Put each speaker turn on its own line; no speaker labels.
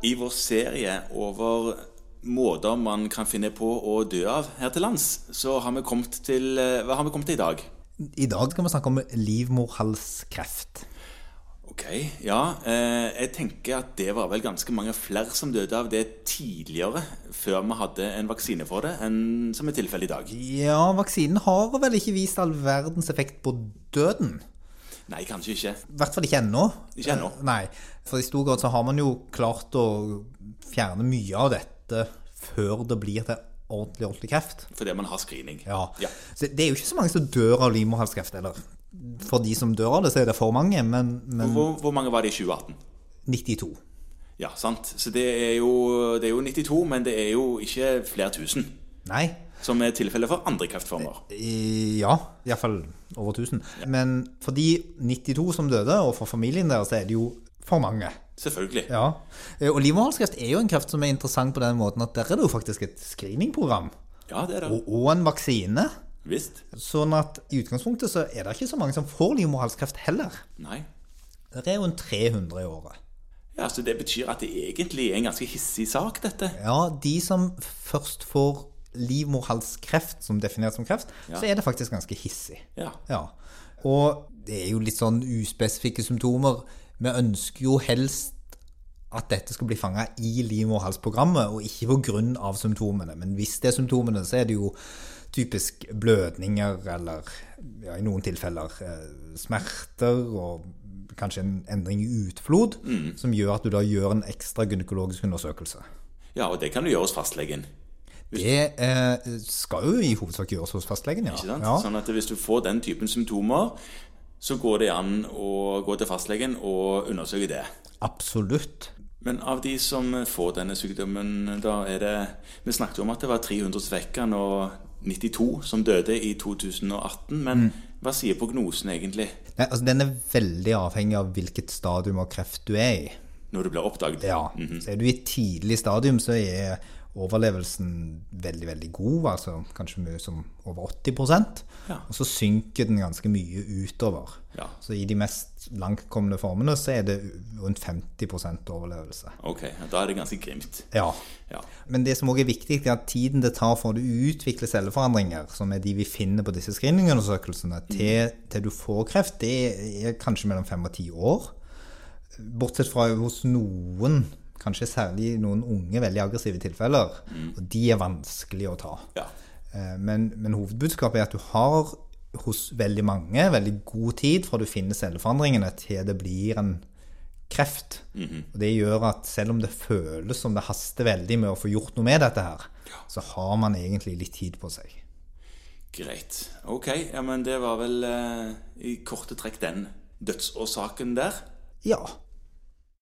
i vår serie over måter man kan finne på å dø av her til lands, så har vi kommet til eh, Hva har vi kommet til i dag?
I dag skal vi snakke om livmorhalskreft.
Ok, ja. Eh, jeg tenker at det var vel ganske mange flere som døde av det tidligere, før vi hadde en vaksine for det, enn som er tilfellet i dag.
Ja, vaksinen har vel ikke vist all verdens effekt på døden.
Nei, kanskje ikke.
I hvert fall ikke ennå.
Ikke ennå.
Eh, Nei, for i stor grad så har man jo klart å fjerne mye av dette før det blir til ordentlig, ordentlig kreft.
Fordi man har screening.
Ja.
Ja.
Så det er jo ikke så mange som dør av livmorhalskreft, eller for de som dør av det, så er det for mange, men, men
Hvor, hvor mange var det i 2018?
92.
Ja, sant. Så det er, jo, det er jo 92, men det er jo ikke flere tusen.
Nei.
Som er tilfellet for andre kreftformer.
I- Ja, iallfall over 1000. Men for de 92 som døde, og for familien deres, så er det jo for mange.
Selvfølgelig.
Ja, Eh, og livmorhalskreft er jo en kreft som er interessant på den måten at der er det jo faktisk et screeningprogram
Ja, det er det.
og, og en vaksine.
Visst.
Sånn at i utgangspunktet så er det ikke så mange som får livmorhalskreft heller.
Nei.
Det er jo en 300 i året.
Ja, så Det betyr at det egentlig er en ganske hissig sak, dette.
Ja, de som først får livmorhalskreft, som definert som kreft, så er det faktisk ganske hissig.
Ja.
Ja. Og det er jo litt sånn uspesifikke symptomer. Vi ønsker jo helst at dette skal bli fanga i lim- og halsprogrammet, og ikke pga. symptomene. Men hvis det er symptomene, så er det jo typisk blødninger eller ja, i noen tilfeller eh, smerter og kanskje en endring i utflod,
Mm.
som gjør at du da gjør en ekstra gynekologisk undersøkelse.
ja, og det kan du gjøre hos fastlegen.
Det eh, skal jo i hovedsak gjøres hos fastlegen, ja.
ikke sant?
ja.
Sånn at Hvis du får den typen symptomer, så går det an å gå til fastlegen og undersøke det.
Absolutt.
Men av de som får denne sykdommen, da er det Vi snakket jo om at det var 300 svekkende og 92 som døde i 2018. Men
Mm.
hva sier prognosen egentlig
Nei, altså Den er veldig avhengig av hvilket stadium av kreft du er i.
når du blir oppdaget?
Ja, Så er du i et tidlig stadium, så er overlevelsen veldig, veldig god. altså Kanskje mye som over 80
Ja.
Og så synker den ganske mye utover.
Ja.
Så i de mest langtkomne formene så er det rundt 50 overlevelse.
Ok, ja, da er det ganske grimt.
Ja.
Ja.
Men det som også er viktig, er at tiden det tar for å utvikle celleforandringer, som er de vi finner på disse screeningundersøkelsene, til, til du får kreft, det er kanskje mellom fem og ti år. Bortsett fra hos noen, kanskje særlig noen unge, veldig aggressive tilfeller. Og de er vanskelig å ta.
Ja.
Eh, Men, men hovedbudskapet er at du har hos veldig mange veldig god tid fra du finner celleforandringene til det blir en kreft. Og det gjør at selv om det føles som det haster veldig med å få gjort noe med dette her, så har man egentlig litt tid på seg.
Greit. Ok, ja, men det var vel eh, i korte trekk den dødsårsaken der.
Ja.